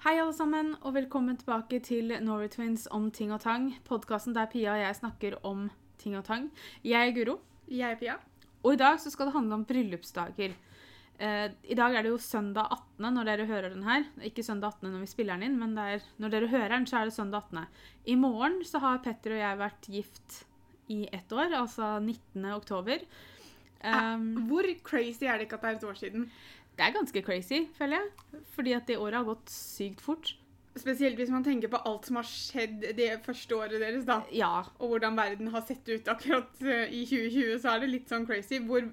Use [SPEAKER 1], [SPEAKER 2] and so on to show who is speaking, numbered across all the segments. [SPEAKER 1] Hei, alle sammen, og velkommen tilbake til Norway Twins om ting og tang. Podkasten der Pia og jeg snakker om ting og tang. Jeg er Guro,
[SPEAKER 2] Jeg er Pia.
[SPEAKER 1] og i dag så skal det handle om bryllupsdager. Eh, I dag er det jo søndag 18. når dere hører den her. Ikke søndag 18. når vi spiller den inn, men det er, når dere hører den, så er det søndag 18. I morgen så har Petter og jeg vært gift i ett år, altså 19. oktober. Um,
[SPEAKER 2] Hvor crazy er det ikke at det er et år siden?
[SPEAKER 1] det er ganske crazy, føler jeg. Fordi at det året har gått sykt fort.
[SPEAKER 2] Spesielt hvis man tenker på alt som har skjedd det første året deres, da.
[SPEAKER 1] Ja,
[SPEAKER 2] Og hvordan verden har sett ut akkurat eh, i 2020, så er det litt sånn crazy. Hvor,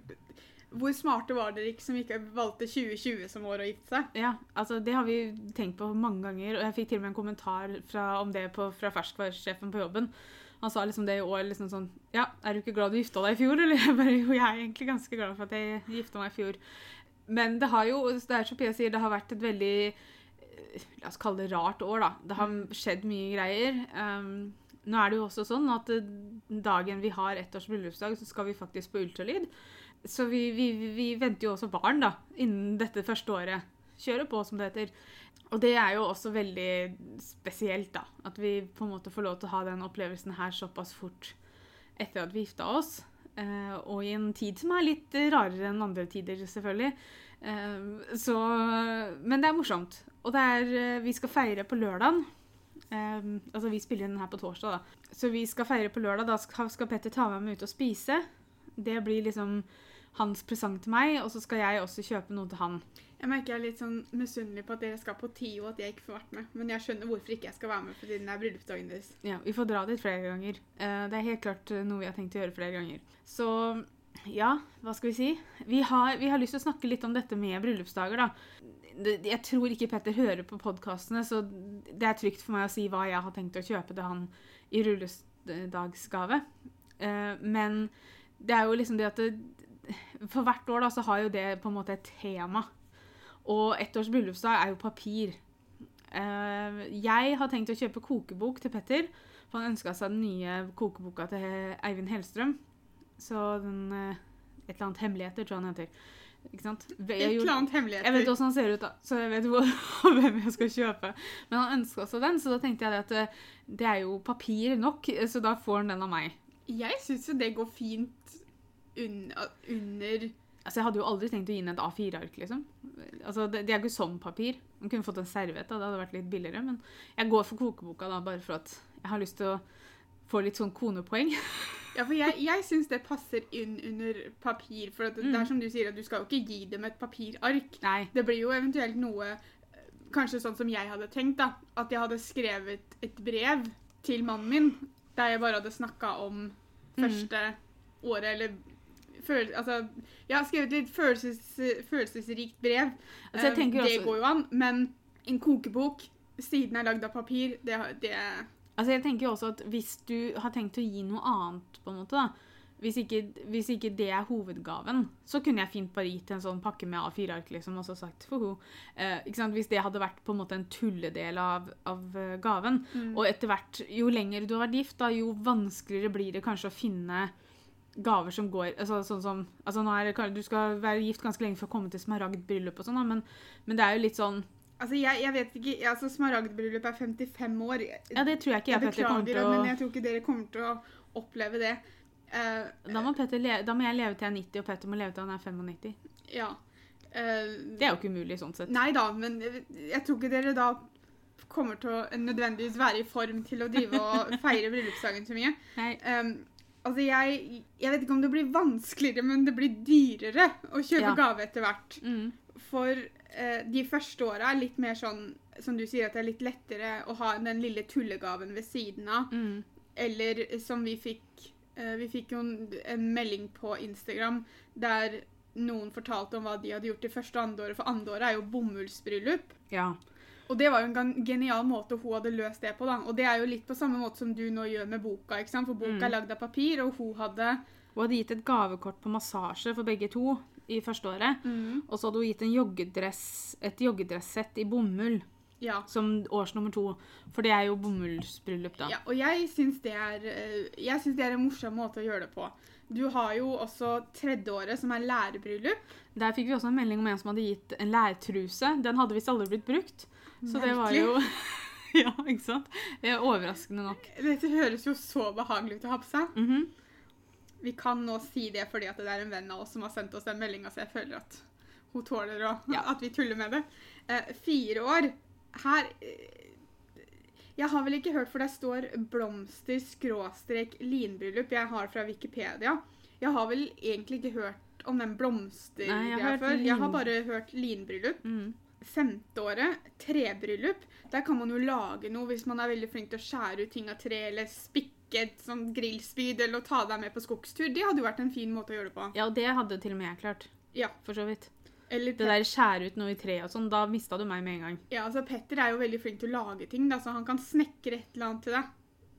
[SPEAKER 2] hvor smarte var dere ikke som ikke valgte 2020 som år å gifte seg?
[SPEAKER 1] Ja, altså det har vi tenkt på mange ganger, og jeg fikk til og med en kommentar fra, om det på, fra ferskvarssjefen på jobben. Han sa liksom det i år liksom sånn Ja, er du ikke glad du gifta deg i fjor, eller? Jeg bare jo, jeg er egentlig ganske glad for at jeg gifta meg i fjor. Men det har jo, det er som Pia sier, det har vært et veldig eh, La oss kalle det rart år, da. Det har skjedd mye greier. Ehm, nå er det jo også sånn at eh, dagen vi har ett års bryllupsdag, så skal vi faktisk på ultralyd. Så vi, vi, vi venter jo også barn, da, innen dette første året. Kjøre på, som det heter. Og det er jo også veldig spesielt, da. At vi på en måte får lov til å ha den opplevelsen her såpass fort etter at vi gifta oss. Eh, og i en tid som er litt rarere enn andre tider, selvfølgelig. Eh, så Men det er morsomt. Og det er eh, Vi skal feire på lørdagen. Eh, altså, vi spiller inn den her på torsdag, da. Så vi skal feire på lørdag. Da skal skal Petter ta med meg ut og spise. Det blir liksom hans presang til meg, og så skal jeg også kjøpe noe til han.
[SPEAKER 2] Jeg merker jeg er litt sånn misunnelig på at dere skal på TIO, og at jeg ikke får vært med. Men jeg skjønner hvorfor ikke jeg skal være med, fordi den er bryllupsdagen deres.
[SPEAKER 1] Ja, vi får dra dit flere ganger. Eh, Det er helt klart eh, noe vi har tenkt å gjøre flere ganger. Så ja, hva skal vi si? Vi har, vi har lyst til å snakke litt om dette med bryllupsdager, da. Det- Jeg tror ikke Petter hører på podkastene, så det er trygt for meg å si hva jeg har tenkt å kjøpe til han i rullesdagsgave. Eh, Men det er jo liksom det at det, For hvert år da, så har jo det på en måte et tema. Og ett års bryllupsdag er jo papir. Eh, jeg har tenkt å kjøpe kokebok til Petter. For han ønska seg den nye kokeboka til He- Eivind Hellstrøm. Så den eh, Et eller annet Hemmeligheter, tror jeg han heter. Ikke sant?
[SPEAKER 2] Et eller annet
[SPEAKER 1] Jeg vet
[SPEAKER 2] hemmeligheter.
[SPEAKER 1] hvordan han ser ut, da, så jeg vet hvor, hvem jeg skal kjøpe. Men han ønska seg den, så da tenkte jeg det at eh, det er jo papir nok, eh, så da får han den av meg.
[SPEAKER 2] Jeg syns jo det går fint un under
[SPEAKER 1] Altså, Jeg hadde jo aldri tenkt å gi henne et A4-ark, liksom. Altså, det, det er jo ikke sånn papir. Hun kunne fått en serviett, da. det hadde vært litt billigere. Men jeg går for kokeboka, da, bare for at jeg har lyst til å få litt sånn konepoeng.
[SPEAKER 2] Ja, for jeg, jeg syns det passer inn under papir. For at
[SPEAKER 1] Mm.
[SPEAKER 2] det er som du sier, at du skal jo ikke gi dem et papirark.
[SPEAKER 1] Nei.
[SPEAKER 2] Det blir jo eventuelt noe eh, Kanskje sånn som jeg hadde tenkt, da. At jeg hadde skrevet et brev til mannen min der jeg bare hadde snakka om
[SPEAKER 1] Mm.
[SPEAKER 2] første året, eller føl Altså, jeg har skrevet et følelses, følelsesrikt brev.
[SPEAKER 1] Altså, jeg
[SPEAKER 2] Eh,
[SPEAKER 1] tenker
[SPEAKER 2] det
[SPEAKER 1] også-
[SPEAKER 2] går jo an. Men en kokebok, siden er lagd av papir, det, det
[SPEAKER 1] Altså, jeg tenker jo også at hvis du har tenkt å gi noe annet, på en måte, da. Hvis ikke, hvis ikke det er hovedgaven, så kunne jeg fint bare gitt en sånn pakke med A4-ark, liksom, og så sagt «Hoho». Eh, ikke sant? Hvis det hadde vært på en måte en tulledel av, av eh, gaven. Og etter hvert, jo lenger du har vært gift, da, jo vanskeligere blir det kanskje å finne gaver som går altså, sånn som, altså, nå er det, kan- Du skal være gift ganske lenge for å komme til smaragdbryllup og sånn, da, men, men det er jo litt sånn
[SPEAKER 2] Altså, jeg, jeg vet ikke jeg- altså, Smaragdbryllup er 55 år.
[SPEAKER 1] Ja, det tror jeg ikke jeg,
[SPEAKER 2] Jeg
[SPEAKER 1] Petter, kommer til å
[SPEAKER 2] beklager, men jeg tror ikke dere kommer til å oppleve det. Eh,
[SPEAKER 1] Da må, Petter le da må jeg leve til jeg er 90, og Petter må leve til han er 95.
[SPEAKER 2] ja. Eh,
[SPEAKER 1] Det er jo ikke umulig sånn sett.
[SPEAKER 2] Nei da, men jeg tror ikke dere da kommer til å nødvendigvis være i form til å drive og feire bryllupsdagen så mye.
[SPEAKER 1] Nei.
[SPEAKER 2] Eh, altså, jeg, jeg vet ikke om det blir vanskeligere, men det blir dyrere å kjøpe
[SPEAKER 1] Ja.
[SPEAKER 2] gave etter hvert.
[SPEAKER 1] Mm.
[SPEAKER 2] For eh, de første åra er litt mer sånn, som du sier, at det er litt lettere å ha den lille tullegaven ved siden av.
[SPEAKER 1] Mm.
[SPEAKER 2] Eller som vi fikk eh, Vi fikk jo en, en melding på Instagram der noen fortalte om hva de hadde gjort det første og andre året, for andre året er jo bomullsbryllup.
[SPEAKER 1] Ja.
[SPEAKER 2] Og det var jo en gan- genial måte hun hadde løst det på, da. Og det er jo litt på samme måte som du nå gjør med boka, ikke sant? For boka
[SPEAKER 1] Mm.
[SPEAKER 2] er lagd av papir, og hun hadde
[SPEAKER 1] Hun hadde gitt et gavekort på massasje for begge to i første året. Og så hadde hun gitt en joggedress, et joggedressett i bomull
[SPEAKER 2] Ja.
[SPEAKER 1] som års nummer to. For det er jo bomullsbryllup, da.
[SPEAKER 2] Ja, og jeg syns det er eh, Jeg synes det er en morsom måte å gjøre det på. Du har jo også tredjeåret, som er lærebryllup.
[SPEAKER 1] Der fikk vi også en melding om en som hadde gitt en lærtruse. Den hadde visst aldri blitt brukt. Så det var jo Ja, ikke sant? Det er overraskende nok.
[SPEAKER 2] Dette høres jo så behagelig ut å ha på seg.
[SPEAKER 1] Mhm.
[SPEAKER 2] Vi kan nå si det fordi at det er en venn av oss som har sendt oss den meldinga, så jeg føler at hun tåler å,
[SPEAKER 1] Ja.
[SPEAKER 2] at vi tuller med det. Eh, fire år her eh, Jeg har vel ikke hørt, for det står blomster-linbryllup jeg har fra Wikipedia. Jeg har vel egentlig ikke hørt om den
[SPEAKER 1] Nei, jeg
[SPEAKER 2] blomstergreia
[SPEAKER 1] har hørt
[SPEAKER 2] før. Jeg har
[SPEAKER 1] lin-
[SPEAKER 2] bare hørt linbryllup.
[SPEAKER 1] Mhm.
[SPEAKER 2] Femte året, trebryllup. Der kan man jo lage noe hvis man er veldig flink til å skjære ut ting av tre, eller spikke et sånn grillspyd, eller å ta deg med på skogstur. Det hadde jo vært en fin måte å gjøre det på.
[SPEAKER 1] Ja, og det hadde jo til og med jeg klart.
[SPEAKER 2] Ja.
[SPEAKER 1] For så vidt.
[SPEAKER 2] Eller
[SPEAKER 1] Det der skjære ut noe i treet og sånn, da mista du meg med en gang.
[SPEAKER 2] Ja, altså Petter er jo veldig flink til å lage ting, da, så han kan snekre et eller annet til deg.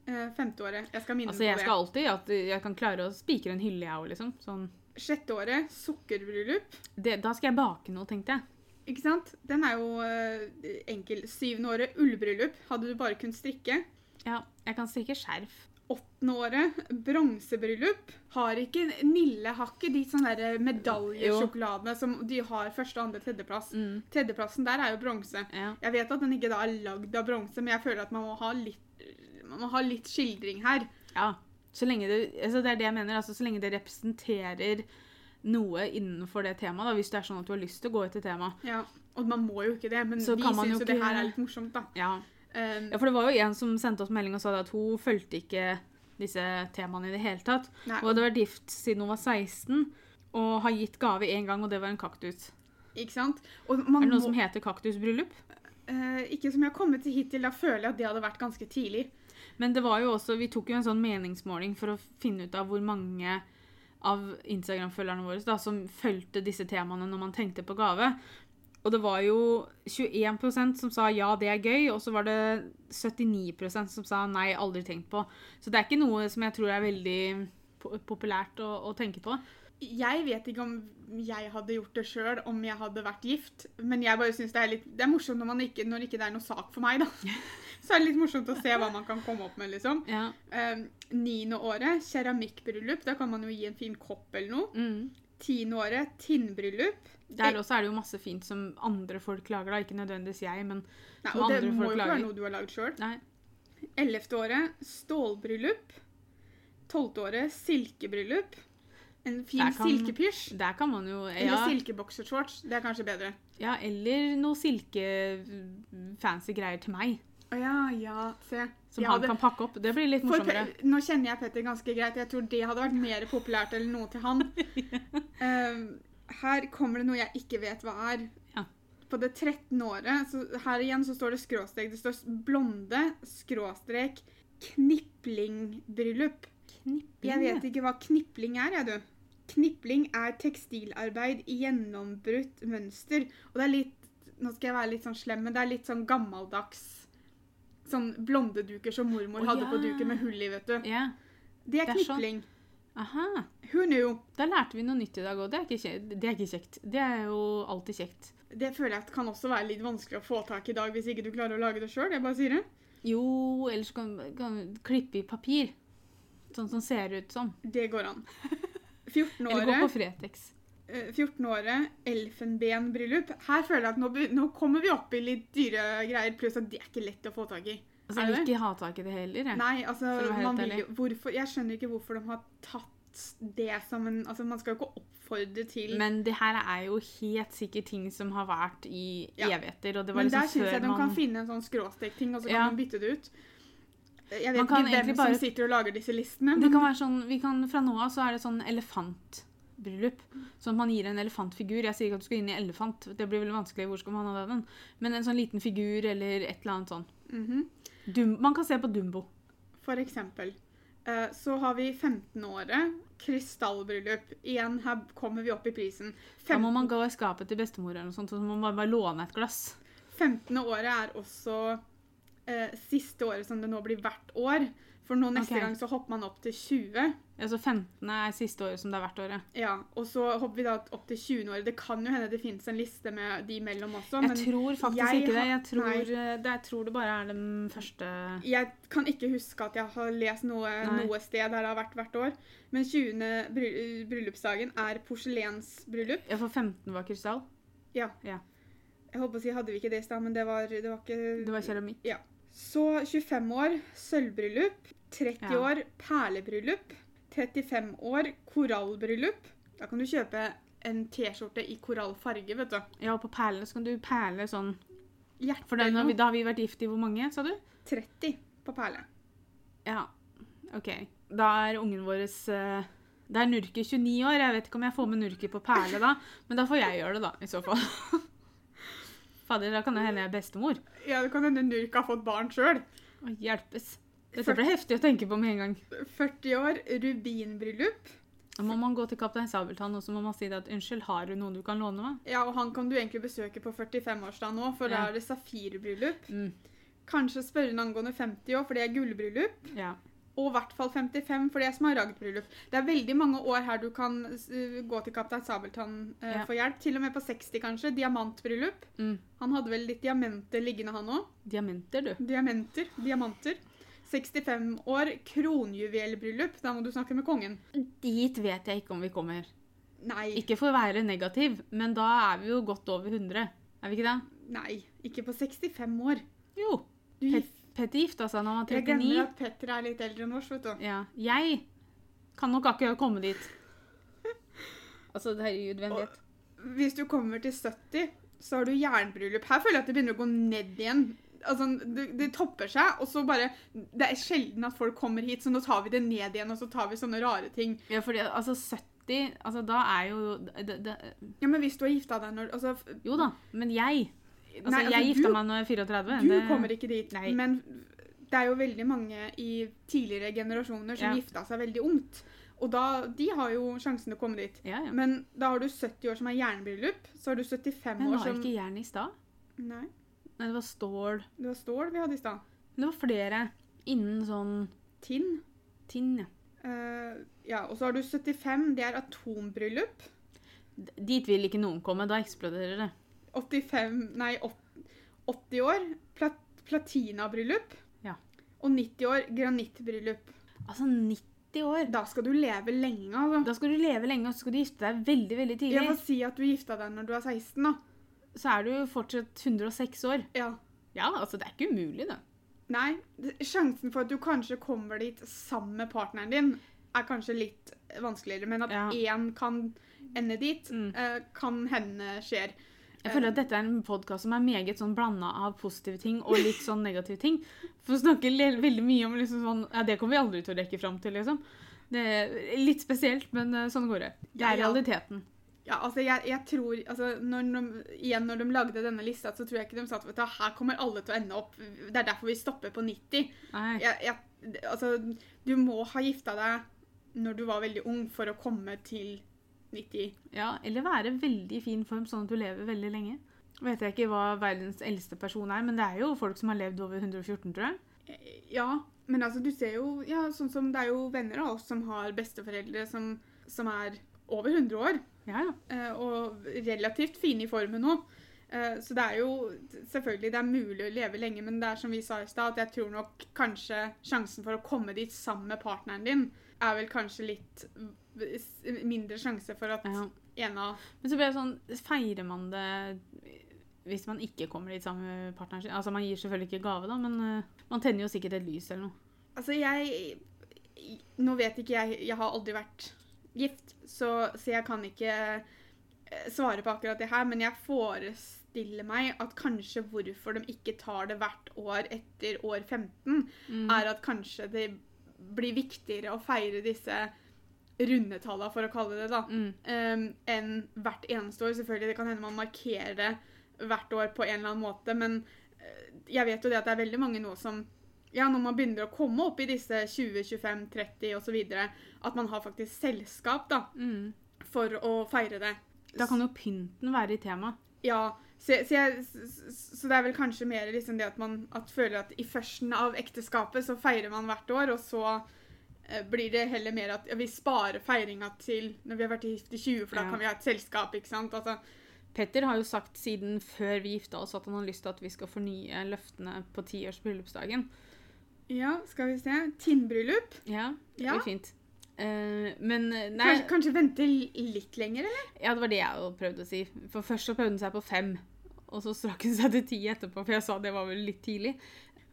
[SPEAKER 2] Eh, femte året. Jeg skal minne
[SPEAKER 1] Altså, jeg
[SPEAKER 2] på det.
[SPEAKER 1] skal alltid at jeg kan klare å spikre en hylle, jeg òg, liksom. Sånn.
[SPEAKER 2] Sjette året, sukkerbryllup.
[SPEAKER 1] Det, da skal jeg bake noe, tenkte jeg.
[SPEAKER 2] Ikke sant? Den er jo eh, enkel. Syvende året, ullbryllup. Hadde du bare kunnet strikke.
[SPEAKER 1] Ja, jeg kan strikke skjerf.
[SPEAKER 2] Åttende året, bronsebryllup. Har ikke Nille har ikke de sånne der medaljesjokoladene som de har første, andre, tredjeplass.
[SPEAKER 1] Mm.
[SPEAKER 2] Tredjeplassen der er jo bronse.
[SPEAKER 1] Ja.
[SPEAKER 2] Jeg vet at den ikke da er lagd av bronse, men jeg føler at man må ha litt, man må ha litt skildring her.
[SPEAKER 1] Ja. Så lenge det, altså det er det jeg mener. Altså, så lenge det representerer noe innenfor det temaet, da, hvis det er sånn at du har lyst til å gå etter temaet.
[SPEAKER 2] Ja, og man må jo ikke det, men
[SPEAKER 1] Så
[SPEAKER 2] vi
[SPEAKER 1] kan man
[SPEAKER 2] syns
[SPEAKER 1] jo
[SPEAKER 2] jo det
[SPEAKER 1] ikke-
[SPEAKER 2] her er litt morsomt, da.
[SPEAKER 1] Ja.
[SPEAKER 2] Um,
[SPEAKER 1] ja, for det var jo en som sendte oss melding og sa det at hun fulgte ikke disse temaene i det hele tatt.
[SPEAKER 2] Nei.
[SPEAKER 1] Hun hadde vært gift siden hun var 16 og har gitt gave én gang, og det var en kaktus.
[SPEAKER 2] Ikke sant? Og man
[SPEAKER 1] Er det
[SPEAKER 2] må,
[SPEAKER 1] noe som heter kaktusbryllup?
[SPEAKER 2] eh, ikke som jeg har kommet til hittil, da føler jeg at det hadde vært ganske tidlig.
[SPEAKER 1] Men det var jo også, vi tok jo en sånn meningsmåling for å finne ut av hvor mange av Instagram-følgerne våre da, som fulgte disse temaene når man tenkte på gave. Og det var jo 21 som sa ja, det er gøy, og så var det 79 som sa nei, aldri tenkt på. Så det er ikke noe som jeg tror er veldig po- populært å, å tenke på.
[SPEAKER 2] Jeg vet ikke om jeg hadde gjort det sjøl om jeg hadde vært gift, men jeg bare syns det er litt Det er morsomt når, man ikke, når ikke det er noe sak for meg, da. Så er det litt morsomt å se hva man kan komme opp med, liksom.
[SPEAKER 1] Ja.
[SPEAKER 2] Um, Niende året, keramikkbryllup. Da kan man jo gi en fin kopp eller noe.
[SPEAKER 1] Mm.
[SPEAKER 2] Tiende året, tinnbryllup.
[SPEAKER 1] Der også er det jo masse fint som andre folk lager, da. Ikke nødvendigvis jeg, men
[SPEAKER 2] Nei,
[SPEAKER 1] Som
[SPEAKER 2] og det
[SPEAKER 1] andre
[SPEAKER 2] må
[SPEAKER 1] folk
[SPEAKER 2] jo ikke
[SPEAKER 1] lager.
[SPEAKER 2] være noe du har lagd sjøl.
[SPEAKER 1] nei.
[SPEAKER 2] Ellevte året stålbryllup. Tolvte året silkebryllup. En fin
[SPEAKER 1] Der kan-
[SPEAKER 2] silkepysj.
[SPEAKER 1] Der kan man jo
[SPEAKER 2] Eller
[SPEAKER 1] ja.
[SPEAKER 2] silkeboksershorts. Det er kanskje bedre.
[SPEAKER 1] Ja, eller noe silkefancy greier til meg.
[SPEAKER 2] Å ja, ja. Se.
[SPEAKER 1] Som
[SPEAKER 2] Jeg
[SPEAKER 1] han
[SPEAKER 2] hadde-
[SPEAKER 1] kan pakke opp. Det blir litt
[SPEAKER 2] for
[SPEAKER 1] morsommere.
[SPEAKER 2] Pe- nå kjenner jeg Petter ganske greit. Jeg tror det hadde vært mer populært enn noe til han. Ehm, her kommer det noe jeg ikke vet hva er.
[SPEAKER 1] Ja.
[SPEAKER 2] På det 13. året så Her igjen så står det skråstrek. Det står s- blonde skråstrek kniplingbryllup. Jeg vet ikke hva knipling er, jeg, du. Knipling er tekstilarbeid i gjennombrutt mønster. Og det er litt Nå skal jeg være litt sånn slem, men det er litt sånn gammeldags Sånn blondeduker som mormor
[SPEAKER 1] Å,
[SPEAKER 2] hadde
[SPEAKER 1] ja.
[SPEAKER 2] på duken med hull i, vet du.
[SPEAKER 1] Ja.
[SPEAKER 2] Det er
[SPEAKER 1] Det er sånn.
[SPEAKER 2] knipling.
[SPEAKER 1] Aha.
[SPEAKER 2] Who knew?
[SPEAKER 1] Da lærte vi noe nytt i dag òg. Det, er ikke kje- det er ikke kjekt. Det er jo alltid kjekt.
[SPEAKER 2] Det føler jeg at kan også være litt vanskelig å få tak i i dag hvis ikke du klarer å lage det sjøl. Jeg bare sier det.
[SPEAKER 1] Jo, ellers kan kan du klippe i papir. Sånn som ser ut som.
[SPEAKER 2] Det går an.
[SPEAKER 1] Eller gå på
[SPEAKER 2] 14-året,
[SPEAKER 1] Fretex.
[SPEAKER 2] eh, 14-året, elfenbenbryllup. Her føler jeg at nå, be- nå kommer vi opp i litt dyre greier, pluss at det er ikke lett å få tak i.
[SPEAKER 1] Altså,
[SPEAKER 2] Er
[SPEAKER 1] jeg
[SPEAKER 2] det?
[SPEAKER 1] vil ikke ha tak i det heller. Jeg.
[SPEAKER 2] Nei, altså,
[SPEAKER 1] For å være helt
[SPEAKER 2] man vil
[SPEAKER 1] ærlig.
[SPEAKER 2] jo, hvorfor, jeg skjønner ikke hvorfor de har tatt det som en altså, Man skal jo ikke oppfordre til
[SPEAKER 1] Men det her er jo helt sikkert ting som har vært i
[SPEAKER 2] Ja.
[SPEAKER 1] evigheter. Og det var
[SPEAKER 2] Men der
[SPEAKER 1] liksom
[SPEAKER 2] syns jeg
[SPEAKER 1] før
[SPEAKER 2] de kan
[SPEAKER 1] man
[SPEAKER 2] finne en sånn skråstekting, og så kan
[SPEAKER 1] Ja.
[SPEAKER 2] man bytte det ut. Jeg vet
[SPEAKER 1] Man
[SPEAKER 2] ikke
[SPEAKER 1] kan
[SPEAKER 2] hvem
[SPEAKER 1] egentlig
[SPEAKER 2] som
[SPEAKER 1] bare-
[SPEAKER 2] sitter og lager disse listene.
[SPEAKER 1] Det
[SPEAKER 2] Men,
[SPEAKER 1] kan være sånn, vi kan, Fra nå av så er det sånn elefantbryllup. Sånn at man gir en elefantfigur. Jeg sier ikke at du skal inn i elefant. Det blir veldig vanskelig. Hvor skal man ha den? Men en sånn liten figur eller et eller annet sånn.
[SPEAKER 2] Mhm.
[SPEAKER 1] Dum man kan se på Dumbo.
[SPEAKER 2] For eksempel. eh, Så har vi 15-året, krystallbryllup. Igjen, her kommer vi opp i prisen.
[SPEAKER 1] Da må
[SPEAKER 2] Fem-
[SPEAKER 1] man gå i skapet til bestemor eller noe sånt, og så må man bare låne et glass.
[SPEAKER 2] 15. året er også eh, siste året som det nå blir hvert år. For nå neste
[SPEAKER 1] Ok.
[SPEAKER 2] gang så hopper man opp til 20.
[SPEAKER 1] Altså 15. er siste året som det er hvert året.
[SPEAKER 2] Ja, og så hopper vi da opp til 20. året. Det kan jo hende det finnes en liste med de mellom også,
[SPEAKER 1] Jeg
[SPEAKER 2] men
[SPEAKER 1] tror faktisk
[SPEAKER 2] jeg
[SPEAKER 1] ikke det.
[SPEAKER 2] har-
[SPEAKER 1] Jeg tror,
[SPEAKER 2] nei.
[SPEAKER 1] eh, det. jeg tror det bare er den første
[SPEAKER 2] jeg kan ikke huske at jeg har lest noe,
[SPEAKER 1] Nei.
[SPEAKER 2] noe sted der det har vært hvert år. Men 20. Bry bryllupsdagen er porselensbryllup.
[SPEAKER 1] Ja, for 15 var krystall.
[SPEAKER 2] Ja.
[SPEAKER 1] Ja.
[SPEAKER 2] Jeg holdt på å si hadde vi ikke det i stad, men det var, det var ikke
[SPEAKER 1] Det var keramikk.
[SPEAKER 2] Så 25 år sølvbryllup. 30
[SPEAKER 1] Ja.
[SPEAKER 2] år perlebryllup. 35 år korallbryllup. Da kan du kjøpe en T-skjorte i korallfarge, vet du.
[SPEAKER 1] Ja, og på perlene så kan du perle sånn
[SPEAKER 2] Hjerte
[SPEAKER 1] For den, har vi-
[SPEAKER 2] eller noe.
[SPEAKER 1] da har vi vært gift i hvor mange, sa du?
[SPEAKER 2] 30 på perle.
[SPEAKER 1] Ja. OK. Da er ungen vår Da er Nurke 29 år. Jeg vet ikke om jeg får med Nurke på perle da, men da får jeg gjøre det, da, i så fall. Fader, da kan det hende jeg er bestemor.
[SPEAKER 2] Ja, det kan hende Nurka har fått barn sjøl.
[SPEAKER 1] Å, hjelpes. Dette ble heftig å tenke på med en gang.
[SPEAKER 2] 40 år rubinbryllup.
[SPEAKER 1] Da må man gå til Kaptein Sabeltann og så må man si det at 'unnskyld, har du noen du kan låne meg?'
[SPEAKER 2] Ja, og han kan du egentlig besøke på 45-årsdagen nå, for da
[SPEAKER 1] Ja.
[SPEAKER 2] er det safirbryllup.
[SPEAKER 1] Mm,
[SPEAKER 2] Kanskje spørre han angående 50 år, for det er gullbryllup.
[SPEAKER 1] ja.
[SPEAKER 2] Og i hvert fall 55, for det er smaragdbryllup. Det er veldig mange år her du kan eh, gå til kaptein Sabeltann eh,
[SPEAKER 1] Ja.
[SPEAKER 2] for hjelp. Til og med på 60, kanskje. Diamantbryllup.
[SPEAKER 1] Mm.
[SPEAKER 2] Han hadde vel litt diamanter liggende, han òg.
[SPEAKER 1] Diamanter, du.
[SPEAKER 2] Diamanter. Diamanter. 65 år kronjuvelbryllup. Da må du snakke med kongen.
[SPEAKER 1] Dit vet jeg ikke om vi kommer.
[SPEAKER 2] Nei.
[SPEAKER 1] Ikke for å være negativ, men da er vi jo godt over 100. Er vi ikke det?
[SPEAKER 2] Nei. Ikke på 65 år.
[SPEAKER 1] Jo.
[SPEAKER 2] Du,
[SPEAKER 1] Pet Petter gifta seg da han var
[SPEAKER 2] jeg
[SPEAKER 1] 39.
[SPEAKER 2] glemmer at Petter er litt eldre enn oss, vet du.
[SPEAKER 1] Ja. Jeg kan nok akkurat komme dit. Altså, herregud, hvem vet?
[SPEAKER 2] Hvis du kommer til 70, så har du jernbryllup. Her føler jeg at det begynner å gå ned igjen. Altså, det, det topper seg, og så bare Det er sjelden at folk kommer hit, så nå tar vi det ned igjen, og så tar vi sånne rare ting.
[SPEAKER 1] Ja, fordi altså 70 Altså, da er jo det, det,
[SPEAKER 2] Ja, men hvis du har gifta deg når altså, f-
[SPEAKER 1] Jo da, men jeg Altså,
[SPEAKER 2] Nei,
[SPEAKER 1] jeg
[SPEAKER 2] du,
[SPEAKER 1] gifta meg når jeg var 34.
[SPEAKER 2] Du kommer ikke dit.
[SPEAKER 1] Nei.
[SPEAKER 2] Men det er jo veldig mange i tidligere generasjoner som
[SPEAKER 1] Ja.
[SPEAKER 2] gifta seg veldig ungt. Og da De har jo sjansen til å komme dit.
[SPEAKER 1] Ja, ja.
[SPEAKER 2] Men da har du 70 år som er jernbryllup, så har du 75
[SPEAKER 1] Men
[SPEAKER 2] år
[SPEAKER 1] var det
[SPEAKER 2] som
[SPEAKER 1] ikke jern i stad?
[SPEAKER 2] Nei,
[SPEAKER 1] Nei, det var stål.
[SPEAKER 2] det var stål vi hadde i stad.
[SPEAKER 1] Men det var flere innen sånn
[SPEAKER 2] Tinn.
[SPEAKER 1] tinn, ja.
[SPEAKER 2] Eh, ja, og så har du 75, det er atombryllup.
[SPEAKER 1] D- Dit vil ikke noen komme. Da eksploderer det.
[SPEAKER 2] 85, nei, åt- 80 år, plat platinabryllup.
[SPEAKER 1] Ja.
[SPEAKER 2] Og 90 år, granittbryllup.
[SPEAKER 1] Altså, 90 år
[SPEAKER 2] Da skal du leve lenge, altså.
[SPEAKER 1] Da skal du leve lenge, og så skal du gifte deg veldig, veldig tidlig.
[SPEAKER 2] Jeg må si at du gifta deg når du er 16, da.
[SPEAKER 1] så er du jo fortsatt 106 år.
[SPEAKER 2] Ja.
[SPEAKER 1] Ja, altså det er ikke umulig, det.
[SPEAKER 2] Nei, det- sjansen for at du kanskje kommer dit sammen med partneren din, er kanskje litt vanskeligere, men at
[SPEAKER 1] Ja.
[SPEAKER 2] én kan ende dit,
[SPEAKER 1] Mm.
[SPEAKER 2] eh, kan hende skjer.
[SPEAKER 1] Jeg føler at dette er en podkast som er meget sånn blanda av positive ting og litt sånn negative ting. For å snakke le- veldig mye om liksom sånn Ja, det kommer vi aldri til å rekke fram til, liksom. Det er litt spesielt, men eh, sånn går det. Det
[SPEAKER 2] Ja,
[SPEAKER 1] er
[SPEAKER 2] ja.
[SPEAKER 1] realiteten.
[SPEAKER 2] Ja, altså jeg, jeg tror altså når de, Igjen, når de lagde denne lista, så tror jeg ikke de sa at vet du, her kommer alle til å ende opp. Det er derfor vi stopper på 90.
[SPEAKER 1] Nei.
[SPEAKER 2] Jeg, jeg, altså, du må ha gifta deg når du var veldig ung, for å komme til 90.
[SPEAKER 1] Ja, eller være veldig i fin form, sånn at du lever veldig lenge. Vet jeg ikke hva verdens eldste person er, men det er jo folk som har levd over 114, tror jeg.
[SPEAKER 2] Eh, Ja, men altså, du ser jo ja, sånn som Det er jo venner av oss som har besteforeldre som, som er over 100 år.
[SPEAKER 1] Ja, ja.
[SPEAKER 2] eh, og relativt fine i formen nå. Eh, Så det er jo selvfølgelig det er mulig å leve lenge, men det er som vi sa i stad, at jeg tror nok kanskje sjansen for å komme dit sammen med partneren din, er vel kanskje litt v- s- mindre sjanse for at
[SPEAKER 1] ja.
[SPEAKER 2] en av
[SPEAKER 1] Men så blir det sånn, feirer man det hvis man ikke kommer dit sammen med partneren sin? Altså, man gir selvfølgelig ikke gave, da, men eh, man tenner jo sikkert et lys eller noe.
[SPEAKER 2] Altså, jeg Nå vet ikke jeg Jeg har aldri vært gift, så, så jeg kan ikke eh, svare på akkurat det her, men jeg forestiller meg at kanskje hvorfor de ikke tar det hvert år etter år 15,
[SPEAKER 1] Mm.
[SPEAKER 2] er at kanskje det blir viktigere å feire disse rundetallene, for å kalle det da,
[SPEAKER 1] Mm.
[SPEAKER 2] em, Ehm, enn hvert eneste år. Selvfølgelig, det kan hende man markerer det hvert år på en eller annen måte, men eh, jeg vet jo det at det er veldig mange nå som ja, når man begynner å komme opp i disse 20, 25, 30 osv., at man har faktisk selskap da,
[SPEAKER 1] Mm.
[SPEAKER 2] for å feire det.
[SPEAKER 1] Da kan jo pynten være i tema.
[SPEAKER 2] Ja, så, så, jeg, så- så det er vel kanskje mer liksom det at man at føler at i førsten av ekteskapet så feirer man hvert år, og så eh, blir det heller mer at ja, vi sparer feiringa til når vi har vært gift i 20, for da
[SPEAKER 1] Ja.
[SPEAKER 2] kan vi ha et selskap, ikke sant? Altså,
[SPEAKER 1] Petter har jo sagt siden før vi gifta oss at han har lyst til at vi skal fornye løftene på tiårs bryllupsdagen.
[SPEAKER 2] ja, skal vi se. Tinnbryllup.
[SPEAKER 1] Ja, det
[SPEAKER 2] Ja.
[SPEAKER 1] blir fint. Eh, men eh, nei,
[SPEAKER 2] Kanskje, kanskje vente l- litt lenger, eller?
[SPEAKER 1] ja, det var det jeg jo prøvde å si. For først så prøvde han seg på fem. Og så strakk hun seg til ti etterpå, for jeg sa det var vel litt tidlig.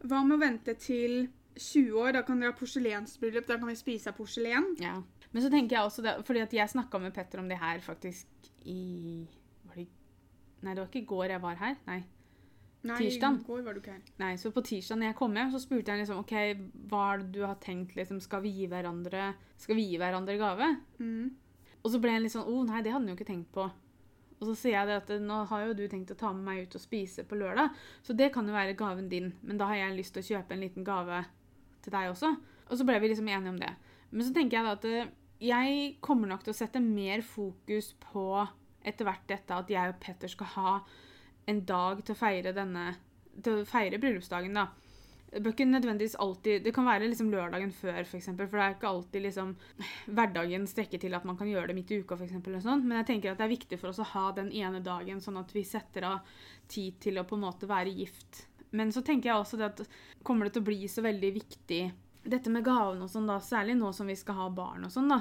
[SPEAKER 2] Hva med å vente til 20 år? Da kan dere ha porselensbryllup. Da kan vi spise av porselen.
[SPEAKER 1] Ja. Men så tenker jeg også det, fordi at jeg snakka med Petter om det her faktisk i var det, i- Nei, det var ikke i går jeg var her. Nei.
[SPEAKER 2] Nei,
[SPEAKER 1] Tirsdag.
[SPEAKER 2] i går var du ikke her.
[SPEAKER 1] Nei, så på tirsdag når jeg kom hjem, så spurte jeg liksom, ok, hva er det du har tenkt, liksom, skal vi gi hverandre, skal vi gi hverandre gave?
[SPEAKER 2] Mm.
[SPEAKER 1] Og så ble jeg litt sånn, oh nei, det hadde han jo ikke tenkt på. Og så sier jeg det at nå har jo du tenkt å ta med meg ut og spise på lørdag, så det kan jo være gaven din, men da har jeg lyst til å kjøpe en liten gave til deg også. Og så ble vi liksom enige om det. Men så tenker jeg da at eh, jeg kommer nok til å sette mer fokus på etter hvert dette at jeg og Petter skal ha en dag til å feire denne, til å feire bryllupsdagen da. Det bør ikke nødvendigvis alltid, det kan være liksom lørdagen før for eksempel, for det er ikke alltid liksom hverdagen strekker til at man kan gjøre det midt i uka, f.eks. sånn. Men jeg tenker at det er viktig for oss å ha den ene dagen, sånn at vi setter av tid til å på en måte være gift. Men så tenker jeg også det at kommer det til å bli så veldig viktig dette med gavene og sånn, da, særlig nå som vi skal ha barn og sånn, da.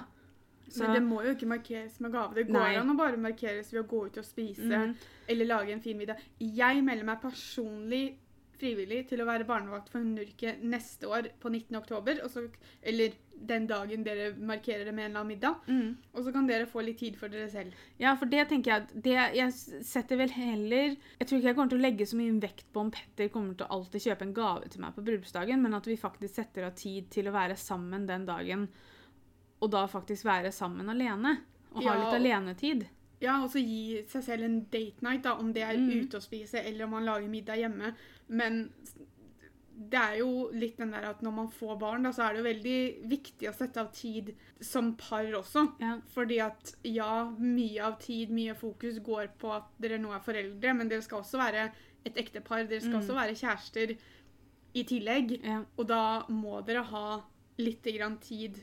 [SPEAKER 1] Så-
[SPEAKER 2] Men det må jo ikke markeres med gave. Det går
[SPEAKER 1] Nei.
[SPEAKER 2] an å bare markeres ved å gå ut og spise
[SPEAKER 1] Mhm.
[SPEAKER 2] eller lage en fin middag. Jeg melder meg personlig frivillig til å være barnevakt for Nurke neste år på 19. oktober. Og så, eller den dagen dere markerer det med en eller annen middag. Og så kan dere få litt tid for dere selv.
[SPEAKER 1] Ja, for det tenker jeg at det, Jeg s- setter vel heller Jeg tror ikke jeg kommer til å legge så mye vekt på om Petter kommer til å alltid kjøpe en gave til meg på bryllupsdagen, men at vi faktisk setter av tid til å være sammen den dagen, og da faktisk være sammen alene. Og ha
[SPEAKER 2] Ja,
[SPEAKER 1] litt
[SPEAKER 2] og-
[SPEAKER 1] alenetid.
[SPEAKER 2] Ja, og så gi seg selv en date night, da, om det er
[SPEAKER 1] Mhm.
[SPEAKER 2] ute å spise eller om man lager middag hjemme. Men s- det er jo litt den der at når man får barn, da, så er det jo veldig viktig å sette av tid som par også.
[SPEAKER 1] Ja.
[SPEAKER 2] Fordi at ja, mye av tid, mye fokus går på at dere nå er foreldre, men dere skal også være et ektepar. Dere skal
[SPEAKER 1] Mm.
[SPEAKER 2] også være kjærester i tillegg.
[SPEAKER 1] ja.
[SPEAKER 2] Og da må dere ha litt grann tid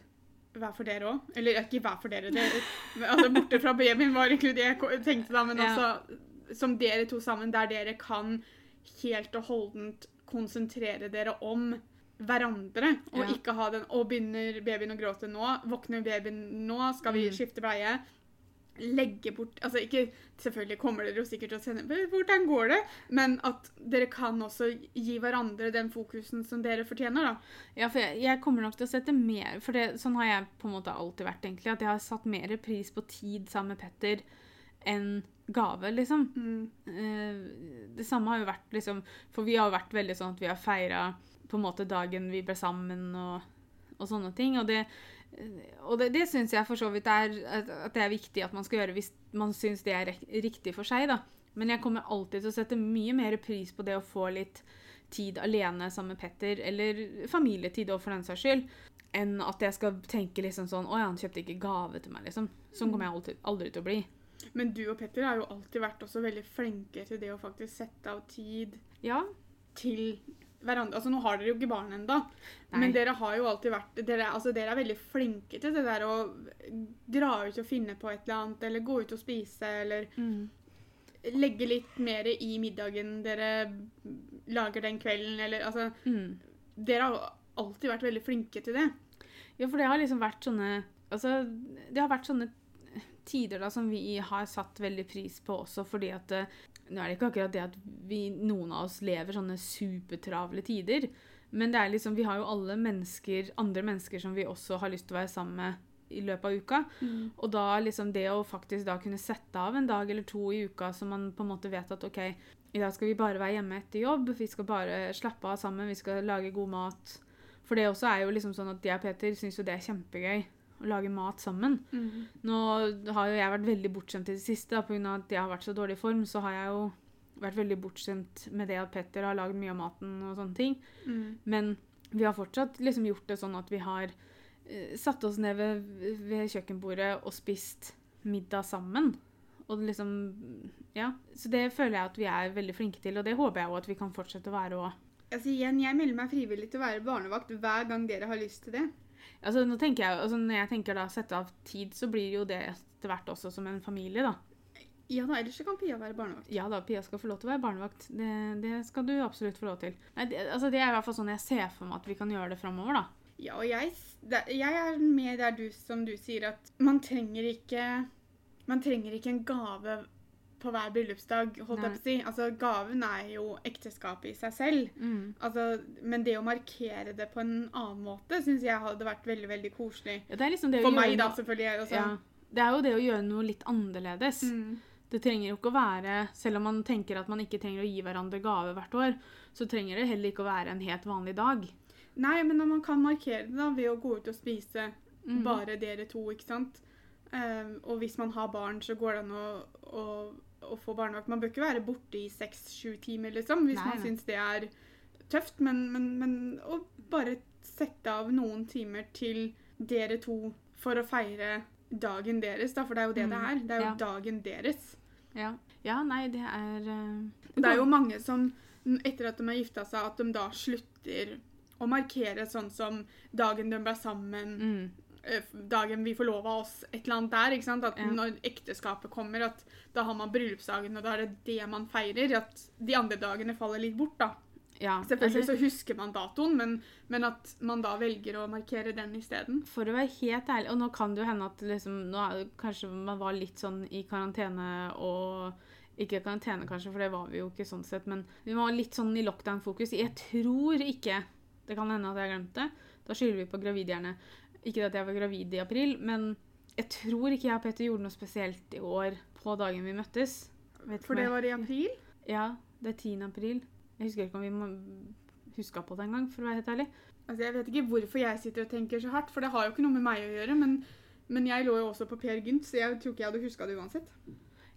[SPEAKER 2] hver for dere òg. Eller ikke hver for dere, det, altså, borte fra babyen var egentlig det jeg ko- tenkte da, men
[SPEAKER 1] Ja.
[SPEAKER 2] altså som dere to sammen, der dere kan helt og holdent konsentrere dere om hverandre, og
[SPEAKER 1] Ja.
[SPEAKER 2] ikke ha den Og begynner babyen å gråte nå? Våkner babyen nå? Skal vi
[SPEAKER 1] Mm.
[SPEAKER 2] skifte bleie? Legge bort Altså ikke Selvfølgelig kommer dere jo sikkert til å sende «Men Hvordan går det? Men at dere kan også gi hverandre den fokusen som dere fortjener, da.
[SPEAKER 1] Ja, for jeg, jeg kommer nok til å sette mer For det, sånn har jeg på en måte alltid vært, egentlig. At jeg har satt mer pris på tid sammen med Petter enn gave, liksom.
[SPEAKER 2] Mm.
[SPEAKER 1] Eh, det samme har jo vært liksom For vi har jo vært veldig sånn at vi har feira på en måte dagen vi ble sammen og, og sånne ting. Og det, eh, og det, det syns jeg for så vidt er at at det er viktig at man skal gjøre hvis man syns det er rek- riktig for seg, da. Men jeg kommer alltid til å sette mye mer pris på det å få litt tid alene sammen med Petter, eller familietid òg, for den saks skyld, enn at jeg skal tenke liksom sånn Å ja, han kjøpte ikke gave til meg, liksom. Sånn kommer jeg aldri, aldri til å bli.
[SPEAKER 2] Men du og Petter har jo alltid vært også veldig flinke til det å faktisk sette av tid
[SPEAKER 1] Ja.
[SPEAKER 2] til hverandre. Altså, nå har dere jo ikke barn ennå,
[SPEAKER 1] Nei.
[SPEAKER 2] men dere har jo alltid vært dere, altså, dere er veldig flinke til det der å dra ut og finne på et eller annet, eller gå ut og spise, eller
[SPEAKER 1] Mm.
[SPEAKER 2] legge litt mer i middagen dere lager den kvelden, eller altså
[SPEAKER 1] Mm.
[SPEAKER 2] Dere har jo alltid vært veldig flinke til det.
[SPEAKER 1] Ja, for det har liksom vært sånne Altså, det har vært sånne tider da som vi har satt veldig pris på også, fordi at eh, Nå er det ikke akkurat det at vi, noen av oss lever sånne supertravle tider, men det er liksom Vi har jo alle mennesker, andre mennesker som vi også har lyst til å være sammen med i løpet av uka. Og da liksom det å faktisk da kunne sette av en dag eller to i uka som man på en måte vet at OK, i dag skal vi bare være hjemme etter jobb, vi skal bare slappe av sammen, vi skal lage god mat. For det også er jo liksom sånn at jeg og Peter syns jo det er kjempegøy å lage mat sammen.
[SPEAKER 2] Mm.
[SPEAKER 1] Nå har jo jeg vært veldig bortskjemt i det siste. da, På grunn av at jeg har vært så dårlig i form, så har jeg jo vært veldig bortskjemt med det at Petter har lagd mye av maten og sånne ting.
[SPEAKER 2] Mm.
[SPEAKER 1] Men vi har fortsatt liksom gjort det sånn at vi har eh, satt oss ned ved, ved kjøkkenbordet og spist middag sammen. Og liksom Ja. Så det føler jeg at vi er veldig flinke til, og det håper jeg jo at vi kan fortsette å være òg.
[SPEAKER 2] Altså igjen, Jeg melder meg frivillig til å være barnevakt hver gang dere har lyst til det.
[SPEAKER 1] Altså, nå tenker jeg, altså, når jeg tenker da sette av tid, så blir jo det etter hvert også som en familie, da.
[SPEAKER 2] Ja da, ellers så kan Pia være barnevakt.
[SPEAKER 1] Ja da, Pia skal få lov til å være barnevakt. Det, det skal du absolutt få lov til. Nei, det, altså, det er i hvert fall sånn jeg ser for meg at vi kan gjøre det framover, da.
[SPEAKER 2] Ja, og jeg, s- der- jeg er med der du, som du sier, at man trenger ikke Man trenger ikke en gave på hver bryllupsdag, holdt jeg på å si. Altså, gaven er jo ekteskapet i seg selv.
[SPEAKER 1] Mm.
[SPEAKER 2] Altså, men det å markere det på en annen måte syns jeg hadde vært veldig veldig koselig.
[SPEAKER 1] Ja, det er liksom det å
[SPEAKER 2] For
[SPEAKER 1] gjøre
[SPEAKER 2] meg, da,
[SPEAKER 1] noe-
[SPEAKER 2] selvfølgelig. jeg Også.
[SPEAKER 1] Ja. Altså, Det er jo det å gjøre noe litt annerledes.
[SPEAKER 2] Mm.
[SPEAKER 1] Det trenger jo ikke å være, Selv om man tenker at man ikke trenger å gi hverandre gave hvert år, så trenger det heller ikke å være en helt vanlig dag.
[SPEAKER 2] Nei, men når man kan markere det da, ved å gå ut og spise
[SPEAKER 1] Mm.
[SPEAKER 2] bare dere to, ikke sant. Ehm, og hvis man har barn, så går det an å, å, å få barnevakt. Man bør ikke være borte i seks-sju timer, liksom, hvis
[SPEAKER 1] Nei,
[SPEAKER 2] man
[SPEAKER 1] nei.
[SPEAKER 2] syns det er tøft. Men, men, men å bare sette av noen timer til dere to for å feire dagen deres, da, for det er jo det det
[SPEAKER 1] Mm,
[SPEAKER 2] er. Det er jo
[SPEAKER 1] ja.
[SPEAKER 2] dagen deres.
[SPEAKER 1] Ja. ja, nei, det er eh,
[SPEAKER 2] Det er jo mange som n- etter at de har gifta seg, at de da slutter å markere sånn som dagen de ble sammen,
[SPEAKER 1] mm,
[SPEAKER 2] eh, dagen vi forlova oss, et eller annet der. ikke sant? At
[SPEAKER 1] Ja.
[SPEAKER 2] når ekteskapet kommer, at da har man bryllupsdagen, og da er det det man feirer. At de andre dagene faller litt bort, da.
[SPEAKER 1] ja.
[SPEAKER 2] Selvfølgelig
[SPEAKER 1] Altså,
[SPEAKER 2] så husker man datoen, men, men at man da velger å markere den isteden.
[SPEAKER 1] For å være helt ærlig, og nå kan det jo hende at liksom, nå er det, kanskje man var litt sånn i karantene og Ikke karantene, kanskje, for det var vi jo ikke sånn sett, men vi var litt sånn i lockdown-fokus. Jeg tror ikke Det kan hende at jeg har glemt det. Da skylder vi på gravidhjerne. Ikke at jeg var gravid i april, men jeg tror ikke jeg og Petter gjorde noe spesielt i år på dagen vi møttes. Vet ikke
[SPEAKER 2] For
[SPEAKER 1] om
[SPEAKER 2] det
[SPEAKER 1] jeg-
[SPEAKER 2] var i april.
[SPEAKER 1] Ja, det er 10. april. Jeg husker ikke om vi må- huska på det engang, for å være helt ærlig.
[SPEAKER 2] Altså, Jeg vet ikke hvorfor jeg sitter og tenker så hardt, for det har jo ikke noe med meg å gjøre. men... Men jeg lå jo også på Per Gynt, så jeg tror ikke jeg hadde huska det uansett.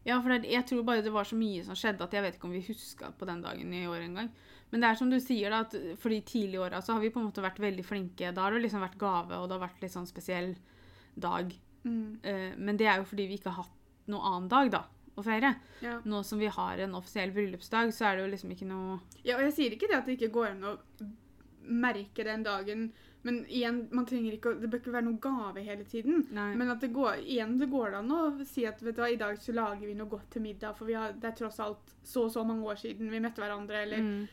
[SPEAKER 1] Ja, for det, er- jeg tror bare det var så mye som skjedde at jeg vet ikke om vi huska på den dagen i år engang. Men det er som du sier, da, at eh, for de tidlige åra så har vi på en måte vært veldig flinke. Da har det liksom vært gave, og det har vært litt sånn spesiell dag.
[SPEAKER 2] Mm,
[SPEAKER 1] Eh, Men det er jo fordi vi ikke har hatt noen annen dag, da, å feire.
[SPEAKER 2] ja.
[SPEAKER 1] Nå som vi har en offisiell bryllupsdag, så er det jo liksom ikke noe
[SPEAKER 2] Ja, og jeg sier ikke det at det ikke går an å merke den dagen, men igjen, man trenger ikke å, det bør ikke være noen gave hele tiden.
[SPEAKER 1] Nei.
[SPEAKER 2] Men at det går, igjen, det går an å si at vet du hva, i dag så lager vi noe godt til middag, for vi har, det er tross alt så og så mange år siden vi møtte hverandre, eller
[SPEAKER 1] Mm.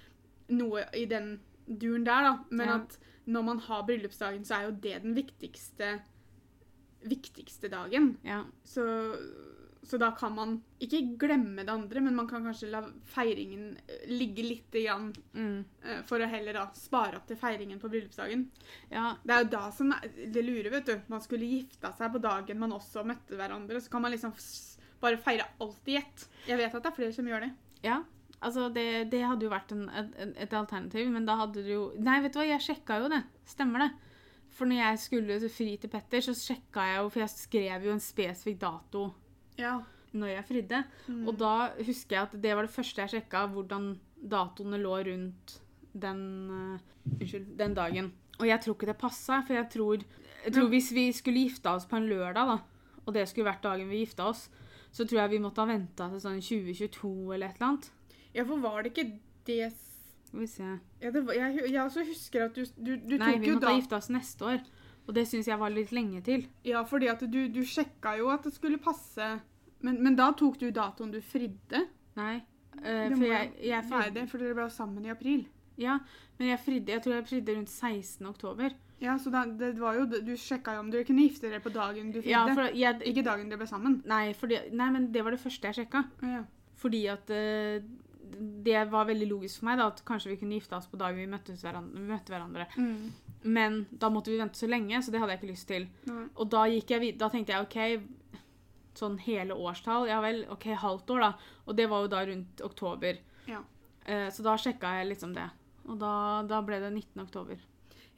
[SPEAKER 2] noe i den duren der, da. Men
[SPEAKER 1] Ja.
[SPEAKER 2] at når man har bryllupsdagen, så er jo det den viktigste, viktigste dagen.
[SPEAKER 1] Ja.
[SPEAKER 2] Så, så da kan man ikke glemme det andre, men man kan kanskje la feiringen eh, ligge litt grann
[SPEAKER 1] Mm.
[SPEAKER 2] Eh, For å heller da spare opp til feiringen på bryllupsdagen.
[SPEAKER 1] ja.
[SPEAKER 2] Det er jo da som er det lurer, vet du. Man skulle gifta seg på dagen man også møtte hverandre. Så kan man liksom s- bare feire alt i ett. Jeg vet at det er flere som gjør det.
[SPEAKER 1] Ja. Altså, det, det hadde jo vært en, en, et alternativ, men da hadde du jo Nei, vet du hva, jeg sjekka jo det. Stemmer det. For når jeg skulle fri til Petter, så sjekka jeg jo For jeg skrev jo en spesifikk dato
[SPEAKER 2] Ja.
[SPEAKER 1] når jeg fridde.
[SPEAKER 2] Mm.
[SPEAKER 1] Og da husker jeg at det var det første jeg sjekka, hvordan datoene lå rundt den eh, Unnskyld, den dagen. Og jeg tror ikke det passa, for jeg tror, jeg tror hvis vi skulle gifta oss på en lørdag, da, og det skulle vært dagen vi gifta oss, så tror jeg vi måtte ha venta til sånn 2022 eller et eller annet.
[SPEAKER 2] Ja, for var det ikke det s-
[SPEAKER 1] Skal vi se.
[SPEAKER 2] ja, det var, jeg, hu- jeg også husker at du, du, du
[SPEAKER 1] Nei,
[SPEAKER 2] tok
[SPEAKER 1] vi
[SPEAKER 2] jo
[SPEAKER 1] måtte
[SPEAKER 2] da
[SPEAKER 1] ha gifta oss neste år. Og det syns jeg var litt lenge til.
[SPEAKER 2] Ja, fordi at du, du sjekka jo at det skulle passe men, men da tok du datoen du fridde?
[SPEAKER 1] Nei. eh,
[SPEAKER 2] Det
[SPEAKER 1] for
[SPEAKER 2] må
[SPEAKER 1] jeg, jeg
[SPEAKER 2] Hva er
[SPEAKER 1] fridde,
[SPEAKER 2] det? For dere ble jo sammen i april.
[SPEAKER 1] ja, men jeg fridde Jeg tror jeg fridde rundt 16. oktober.
[SPEAKER 2] Ja, så da, det var jo, Du sjekka jo om dere kunne gifte dere på dagen du fridde.
[SPEAKER 1] Ja, for jeg,
[SPEAKER 2] Ikke dagen dere ble sammen.
[SPEAKER 1] nei, fordi, nei, men det var det første jeg sjekka.
[SPEAKER 2] Ja.
[SPEAKER 1] Fordi at eh, det var veldig logisk for meg da, at kanskje vi kunne gifte oss på dagen vi møttes hverandre, vi møtte hverandre. Men da måtte vi vente så lenge, så det hadde jeg ikke lyst til.
[SPEAKER 2] Nei.
[SPEAKER 1] Og da, gikk jeg, vid- da tenkte jeg OK, sånn hele årstall Ja vel, OK, halvt år, da. Og det var jo da rundt oktober.
[SPEAKER 2] Ja.
[SPEAKER 1] Eh, så da sjekka jeg liksom det. Og da, da ble det 19. oktober.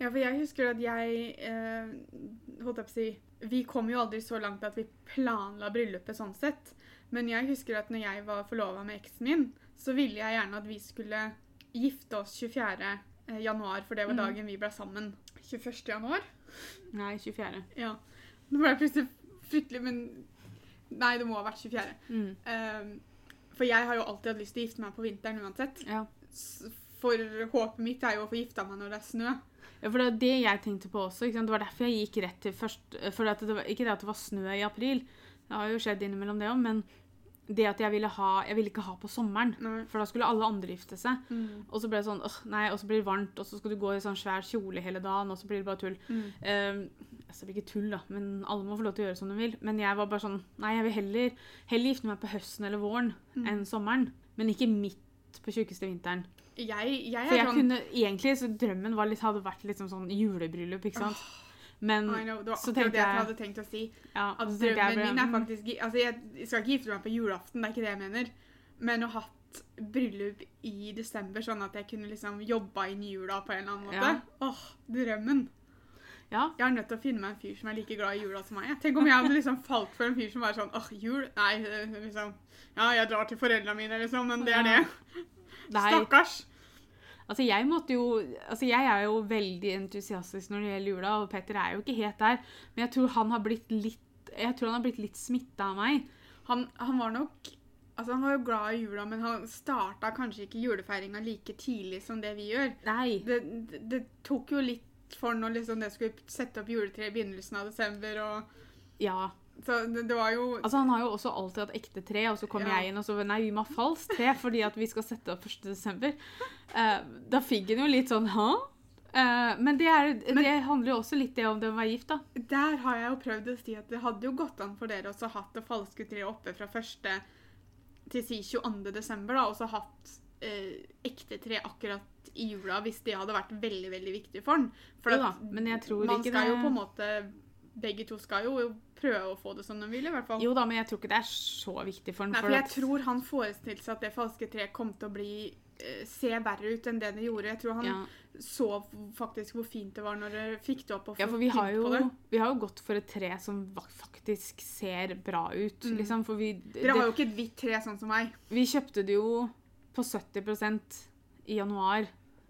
[SPEAKER 2] ja, for jeg husker at jeg eh, Holdt jeg på å si Vi kom jo aldri så langt at vi planla bryllupet sånn sett. Men jeg husker at når jeg var forlova med eksen min, så ville jeg gjerne at vi skulle gifte oss 24. januar, for det var
[SPEAKER 1] Mhm.
[SPEAKER 2] dagen vi ble sammen. 21. januar?
[SPEAKER 1] Nei, 24.
[SPEAKER 2] Ja. Nå ble jeg plutselig fryktelig, men Nei, det må ha vært 24.
[SPEAKER 1] Mm.
[SPEAKER 2] Eh, for jeg har jo alltid hatt lyst til å gifte meg på vinteren uansett.
[SPEAKER 1] Ja.
[SPEAKER 2] S- For håpet mitt er jo å få gifta meg når det er snø.
[SPEAKER 1] ja, for det er det jeg tenkte på også. Ikke sant? Det var derfor jeg gikk eh, rett til først for at det var, Ikke det at det var snø i april, det har jo skjedd innimellom det òg, men det at jeg ville ha Jeg ville ikke ha på sommeren.
[SPEAKER 2] Nei.
[SPEAKER 1] For da skulle alle andre gifte seg.
[SPEAKER 2] Mm.
[SPEAKER 1] Og så ble det sånn åh, nei, og så blir det varmt, og så skal du gå i sånn svær kjole hele dagen, og så blir det bare tull.
[SPEAKER 2] Mm.
[SPEAKER 1] Ehm, altså, det blir ikke tull, da, men alle må få lov til å gjøre som de vil. Men jeg var bare sånn Nei, jeg vil heller, heller gifte meg på høsten eller våren
[SPEAKER 2] Mm.
[SPEAKER 1] enn sommeren. Men ikke midt på tjukkeste vinteren.
[SPEAKER 2] Jeg, jeg
[SPEAKER 1] For
[SPEAKER 2] er
[SPEAKER 1] jeg
[SPEAKER 2] sånn
[SPEAKER 1] kunne egentlig så Drømmen var litt, hadde vært liksom sånn julebryllup, ikke sant. Men
[SPEAKER 2] I know, Det var
[SPEAKER 1] Så
[SPEAKER 2] akkurat
[SPEAKER 1] tenkte
[SPEAKER 2] det jeg
[SPEAKER 1] jeg-
[SPEAKER 2] hadde tenkt å si.
[SPEAKER 1] ja,
[SPEAKER 2] At
[SPEAKER 1] så tenkte jeg
[SPEAKER 2] drømmen min
[SPEAKER 1] bare,
[SPEAKER 2] er
[SPEAKER 1] mm,
[SPEAKER 2] faktisk gi- Altså, jeg jeg skal ikke gifte meg på julaften, det er ikke det jeg mener. Men å ha hatt bryllup i desember, sånn at jeg kunne liksom jobba inn jula på en eller annen måte.
[SPEAKER 1] Ja.
[SPEAKER 2] Åh, drømmen.
[SPEAKER 1] Ja,
[SPEAKER 2] Jeg er nødt til å finne meg en fyr som er like glad i jula som meg. jeg. Tenk om jeg hadde liksom falt for en fyr som var sånn åh, jul? Nei, eh, liksom Ja, jeg drar til foreldra mine, liksom, men det er det.
[SPEAKER 1] Ja. det er
[SPEAKER 2] Stakkars.
[SPEAKER 1] Altså, jeg måtte jo Altså, jeg er jo veldig entusiastisk når det gjelder jula, og Petter er jo ikke helt der, men jeg tror han har blitt litt Jeg tror han har blitt litt smitta av meg.
[SPEAKER 2] Han, han var nok Altså, han var jo glad i jula, men han starta kanskje ikke julefeiringa like tidlig som det vi gjør.
[SPEAKER 1] Nei.
[SPEAKER 2] det, det, det tok jo litt for når liksom det skulle sette opp juletre i begynnelsen av desember. Og,
[SPEAKER 1] Ja.
[SPEAKER 2] så det, det var jo
[SPEAKER 1] Altså, han har jo også alltid hatt ekte tre, og så kom
[SPEAKER 2] Ja.
[SPEAKER 1] jeg inn og så Nei, vi må ha falskt tre fordi at vi skal sette opp 1. desember. Eh, da fikk han jo litt sånn Hæ? Eh, men det, er, det handler jo også litt det om det å være gift, da.
[SPEAKER 2] Der har jeg jo prøvd å si at det hadde jo gått an for dere også hatt det falske treet oppe fra 1. til si 22. desember, da, og så hatt eh, ekte tre akkurat i jula hvis det hadde vært veldig, veldig viktig for den. For
[SPEAKER 1] Jo da,
[SPEAKER 2] at
[SPEAKER 1] men jeg tror
[SPEAKER 2] man
[SPEAKER 1] ikke
[SPEAKER 2] skal jo
[SPEAKER 1] det-
[SPEAKER 2] på en måte Begge to skal jo prøve å få det som de vil, i hvert fall.
[SPEAKER 1] Jo da, men jeg tror ikke det er så viktig for han.
[SPEAKER 2] Nei, for jeg
[SPEAKER 1] at-
[SPEAKER 2] tror han forestilte seg at det falske treet kom til å bli eh, se verre ut enn det det gjorde. Jeg tror han
[SPEAKER 1] ja.
[SPEAKER 2] så faktisk hvor fint det var når dere fikk det opp og
[SPEAKER 1] Ja,
[SPEAKER 2] fikk
[SPEAKER 1] for vi har,
[SPEAKER 2] pynt på det.
[SPEAKER 1] jo, vi har jo gått for et tre som va- faktisk ser bra ut,
[SPEAKER 2] Mm.
[SPEAKER 1] liksom. For vi,
[SPEAKER 2] Dere har
[SPEAKER 1] det,
[SPEAKER 2] jo ikke et hvitt tre sånn som meg.
[SPEAKER 1] vi kjøpte det jo på 70 i januar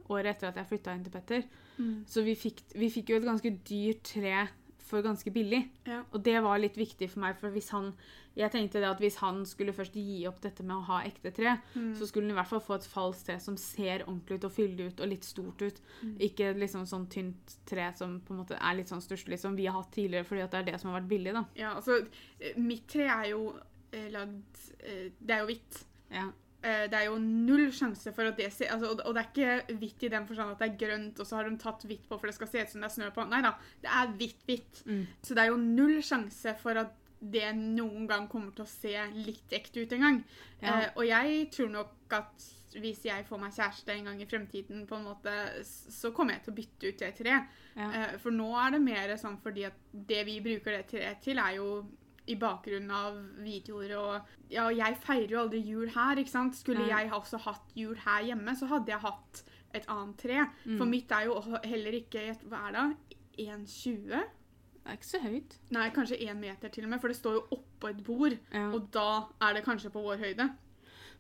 [SPEAKER 1] året etter at jeg flytta inn til Petter.
[SPEAKER 2] Mm.
[SPEAKER 1] Så vi fikk, vi fikk jo et ganske dyrt tre for ganske billig.
[SPEAKER 2] Ja.
[SPEAKER 1] Og det var litt viktig for meg, for hvis han Jeg tenkte det at hvis han skulle først gi opp dette med å ha ekte tre,
[SPEAKER 2] Mm.
[SPEAKER 1] så skulle han i hvert fall få et falskt tre som ser ordentlig ut og fyldig ut og litt stort ut.
[SPEAKER 2] Mm.
[SPEAKER 1] Ikke liksom sånn tynt tre som på en måte er litt sånn stusslig som vi har hatt tidligere, fordi at det er det som har vært billig, da.
[SPEAKER 2] Ja, altså, eh, mitt tre er jo eh, lagd eh, Det er jo hvitt.
[SPEAKER 1] Ja.
[SPEAKER 2] Eh, det er jo null sjanse for at det ser altså, og, og det er ikke hvitt i den forstand at det er grønt, og så har de tatt hvitt på for det skal se ut som det er snø på. Nei da, det er hvitt-hvitt.
[SPEAKER 1] Mm.
[SPEAKER 2] Så det er jo null sjanse for at det noen gang kommer til å se litt ekte ut engang.
[SPEAKER 1] Ja.
[SPEAKER 2] Eh, og jeg tror nok at hvis jeg får meg kjæreste en gang i fremtiden, på en måte, s- så kommer jeg til å bytte ut det treet.
[SPEAKER 1] Ja.
[SPEAKER 2] Eh, for nå er det mer sånn fordi at det vi bruker det treet til, er jo i bakgrunnen av videoer og Ja, og jeg feirer jo aldri jul her, ikke sant. Skulle
[SPEAKER 1] Nei.
[SPEAKER 2] jeg ha også hatt jul her hjemme, så hadde jeg hatt et annet tre. For
[SPEAKER 1] Mm.
[SPEAKER 2] mitt er jo også heller ikke Hva er det? 1,20?
[SPEAKER 1] Det er ikke så høyt.
[SPEAKER 2] Nei, kanskje én meter til og med, for det står jo oppå et bord.
[SPEAKER 1] Ja.
[SPEAKER 2] Og da er det kanskje på vår høyde.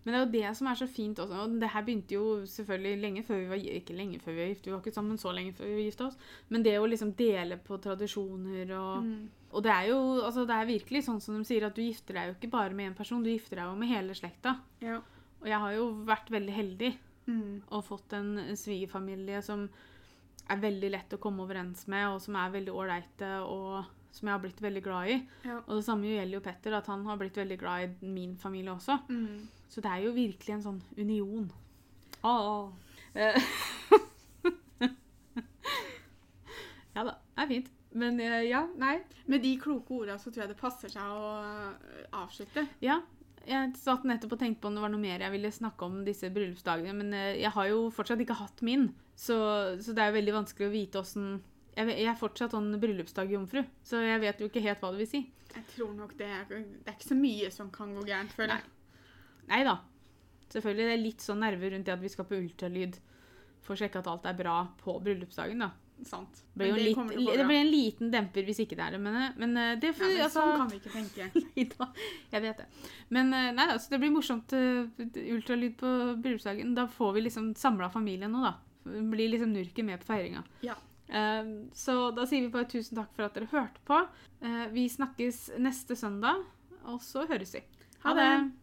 [SPEAKER 1] Men det er jo det som er så fint også. Og det her begynte jo selvfølgelig lenge før vi var gi- Ikke lenge før vi var gift, vi var ikke sammen så lenge før vi gifta oss. Men det å liksom dele på tradisjoner
[SPEAKER 2] Mm.
[SPEAKER 1] og Og det er jo altså det er virkelig sånn som de sier, at du gifter deg jo ikke bare med én person, du gifter deg jo med hele slekta.
[SPEAKER 2] Ja. Mm.
[SPEAKER 1] Og jeg har jo vært veldig heldig og fått en svigerfamilie som er veldig lett å komme overens med, og som er veldig ålreite, og som jeg har blitt veldig glad i.
[SPEAKER 2] Ja.
[SPEAKER 1] Og det samme gjelder jo Petter, at han har blitt veldig glad i min familie også.
[SPEAKER 2] Mm.
[SPEAKER 1] Så det er jo virkelig en sånn union. Åh. Eh, ja da, det er fint. Men eh, ja, nei.
[SPEAKER 2] Med de kloke orda så tror jeg det passer seg å øh, avslutte.
[SPEAKER 1] Ja, jeg satt nettopp og tenkte på om det var noe mer jeg ville snakke om disse bryllupsdagene, men eh, jeg har jo fortsatt ikke hatt min, så, så det er jo veldig vanskelig å vite åssen jeg, ve- jeg er fortsatt sånn bryllupsdagjomfru, så jeg vet jo ikke helt hva det vil si.
[SPEAKER 2] Jeg tror nok det er, det er ikke så mye som kan gå gærent, føler jeg.
[SPEAKER 1] Nei da. Selvfølgelig det er litt sånn nerver rundt det at vi skal på ultralyd for å sjekke at alt er bra på bryllupsdagen, da.
[SPEAKER 2] Sant.
[SPEAKER 1] Det blir jo
[SPEAKER 2] Men
[SPEAKER 1] litt,
[SPEAKER 2] kommer til å gå
[SPEAKER 1] det
[SPEAKER 2] bra.
[SPEAKER 1] blir en liten demper hvis ikke det er det, men, eh, men eh, det
[SPEAKER 2] ja,
[SPEAKER 1] får
[SPEAKER 2] men
[SPEAKER 1] altså,
[SPEAKER 2] Sånn kan vi ikke tenke.
[SPEAKER 1] Ida, Jeg vet det. Men eh, nei da, så det blir morsomt eh, ultralyd på bryllupsdagen. Da får vi liksom samla familien nå, da. Blir liksom nurket med på feiringa.
[SPEAKER 2] Ja.
[SPEAKER 1] Eh, så da sier vi bare tusen takk for at dere hørte på. Eh, vi snakkes neste søndag, og så høres vi.
[SPEAKER 2] Ha det.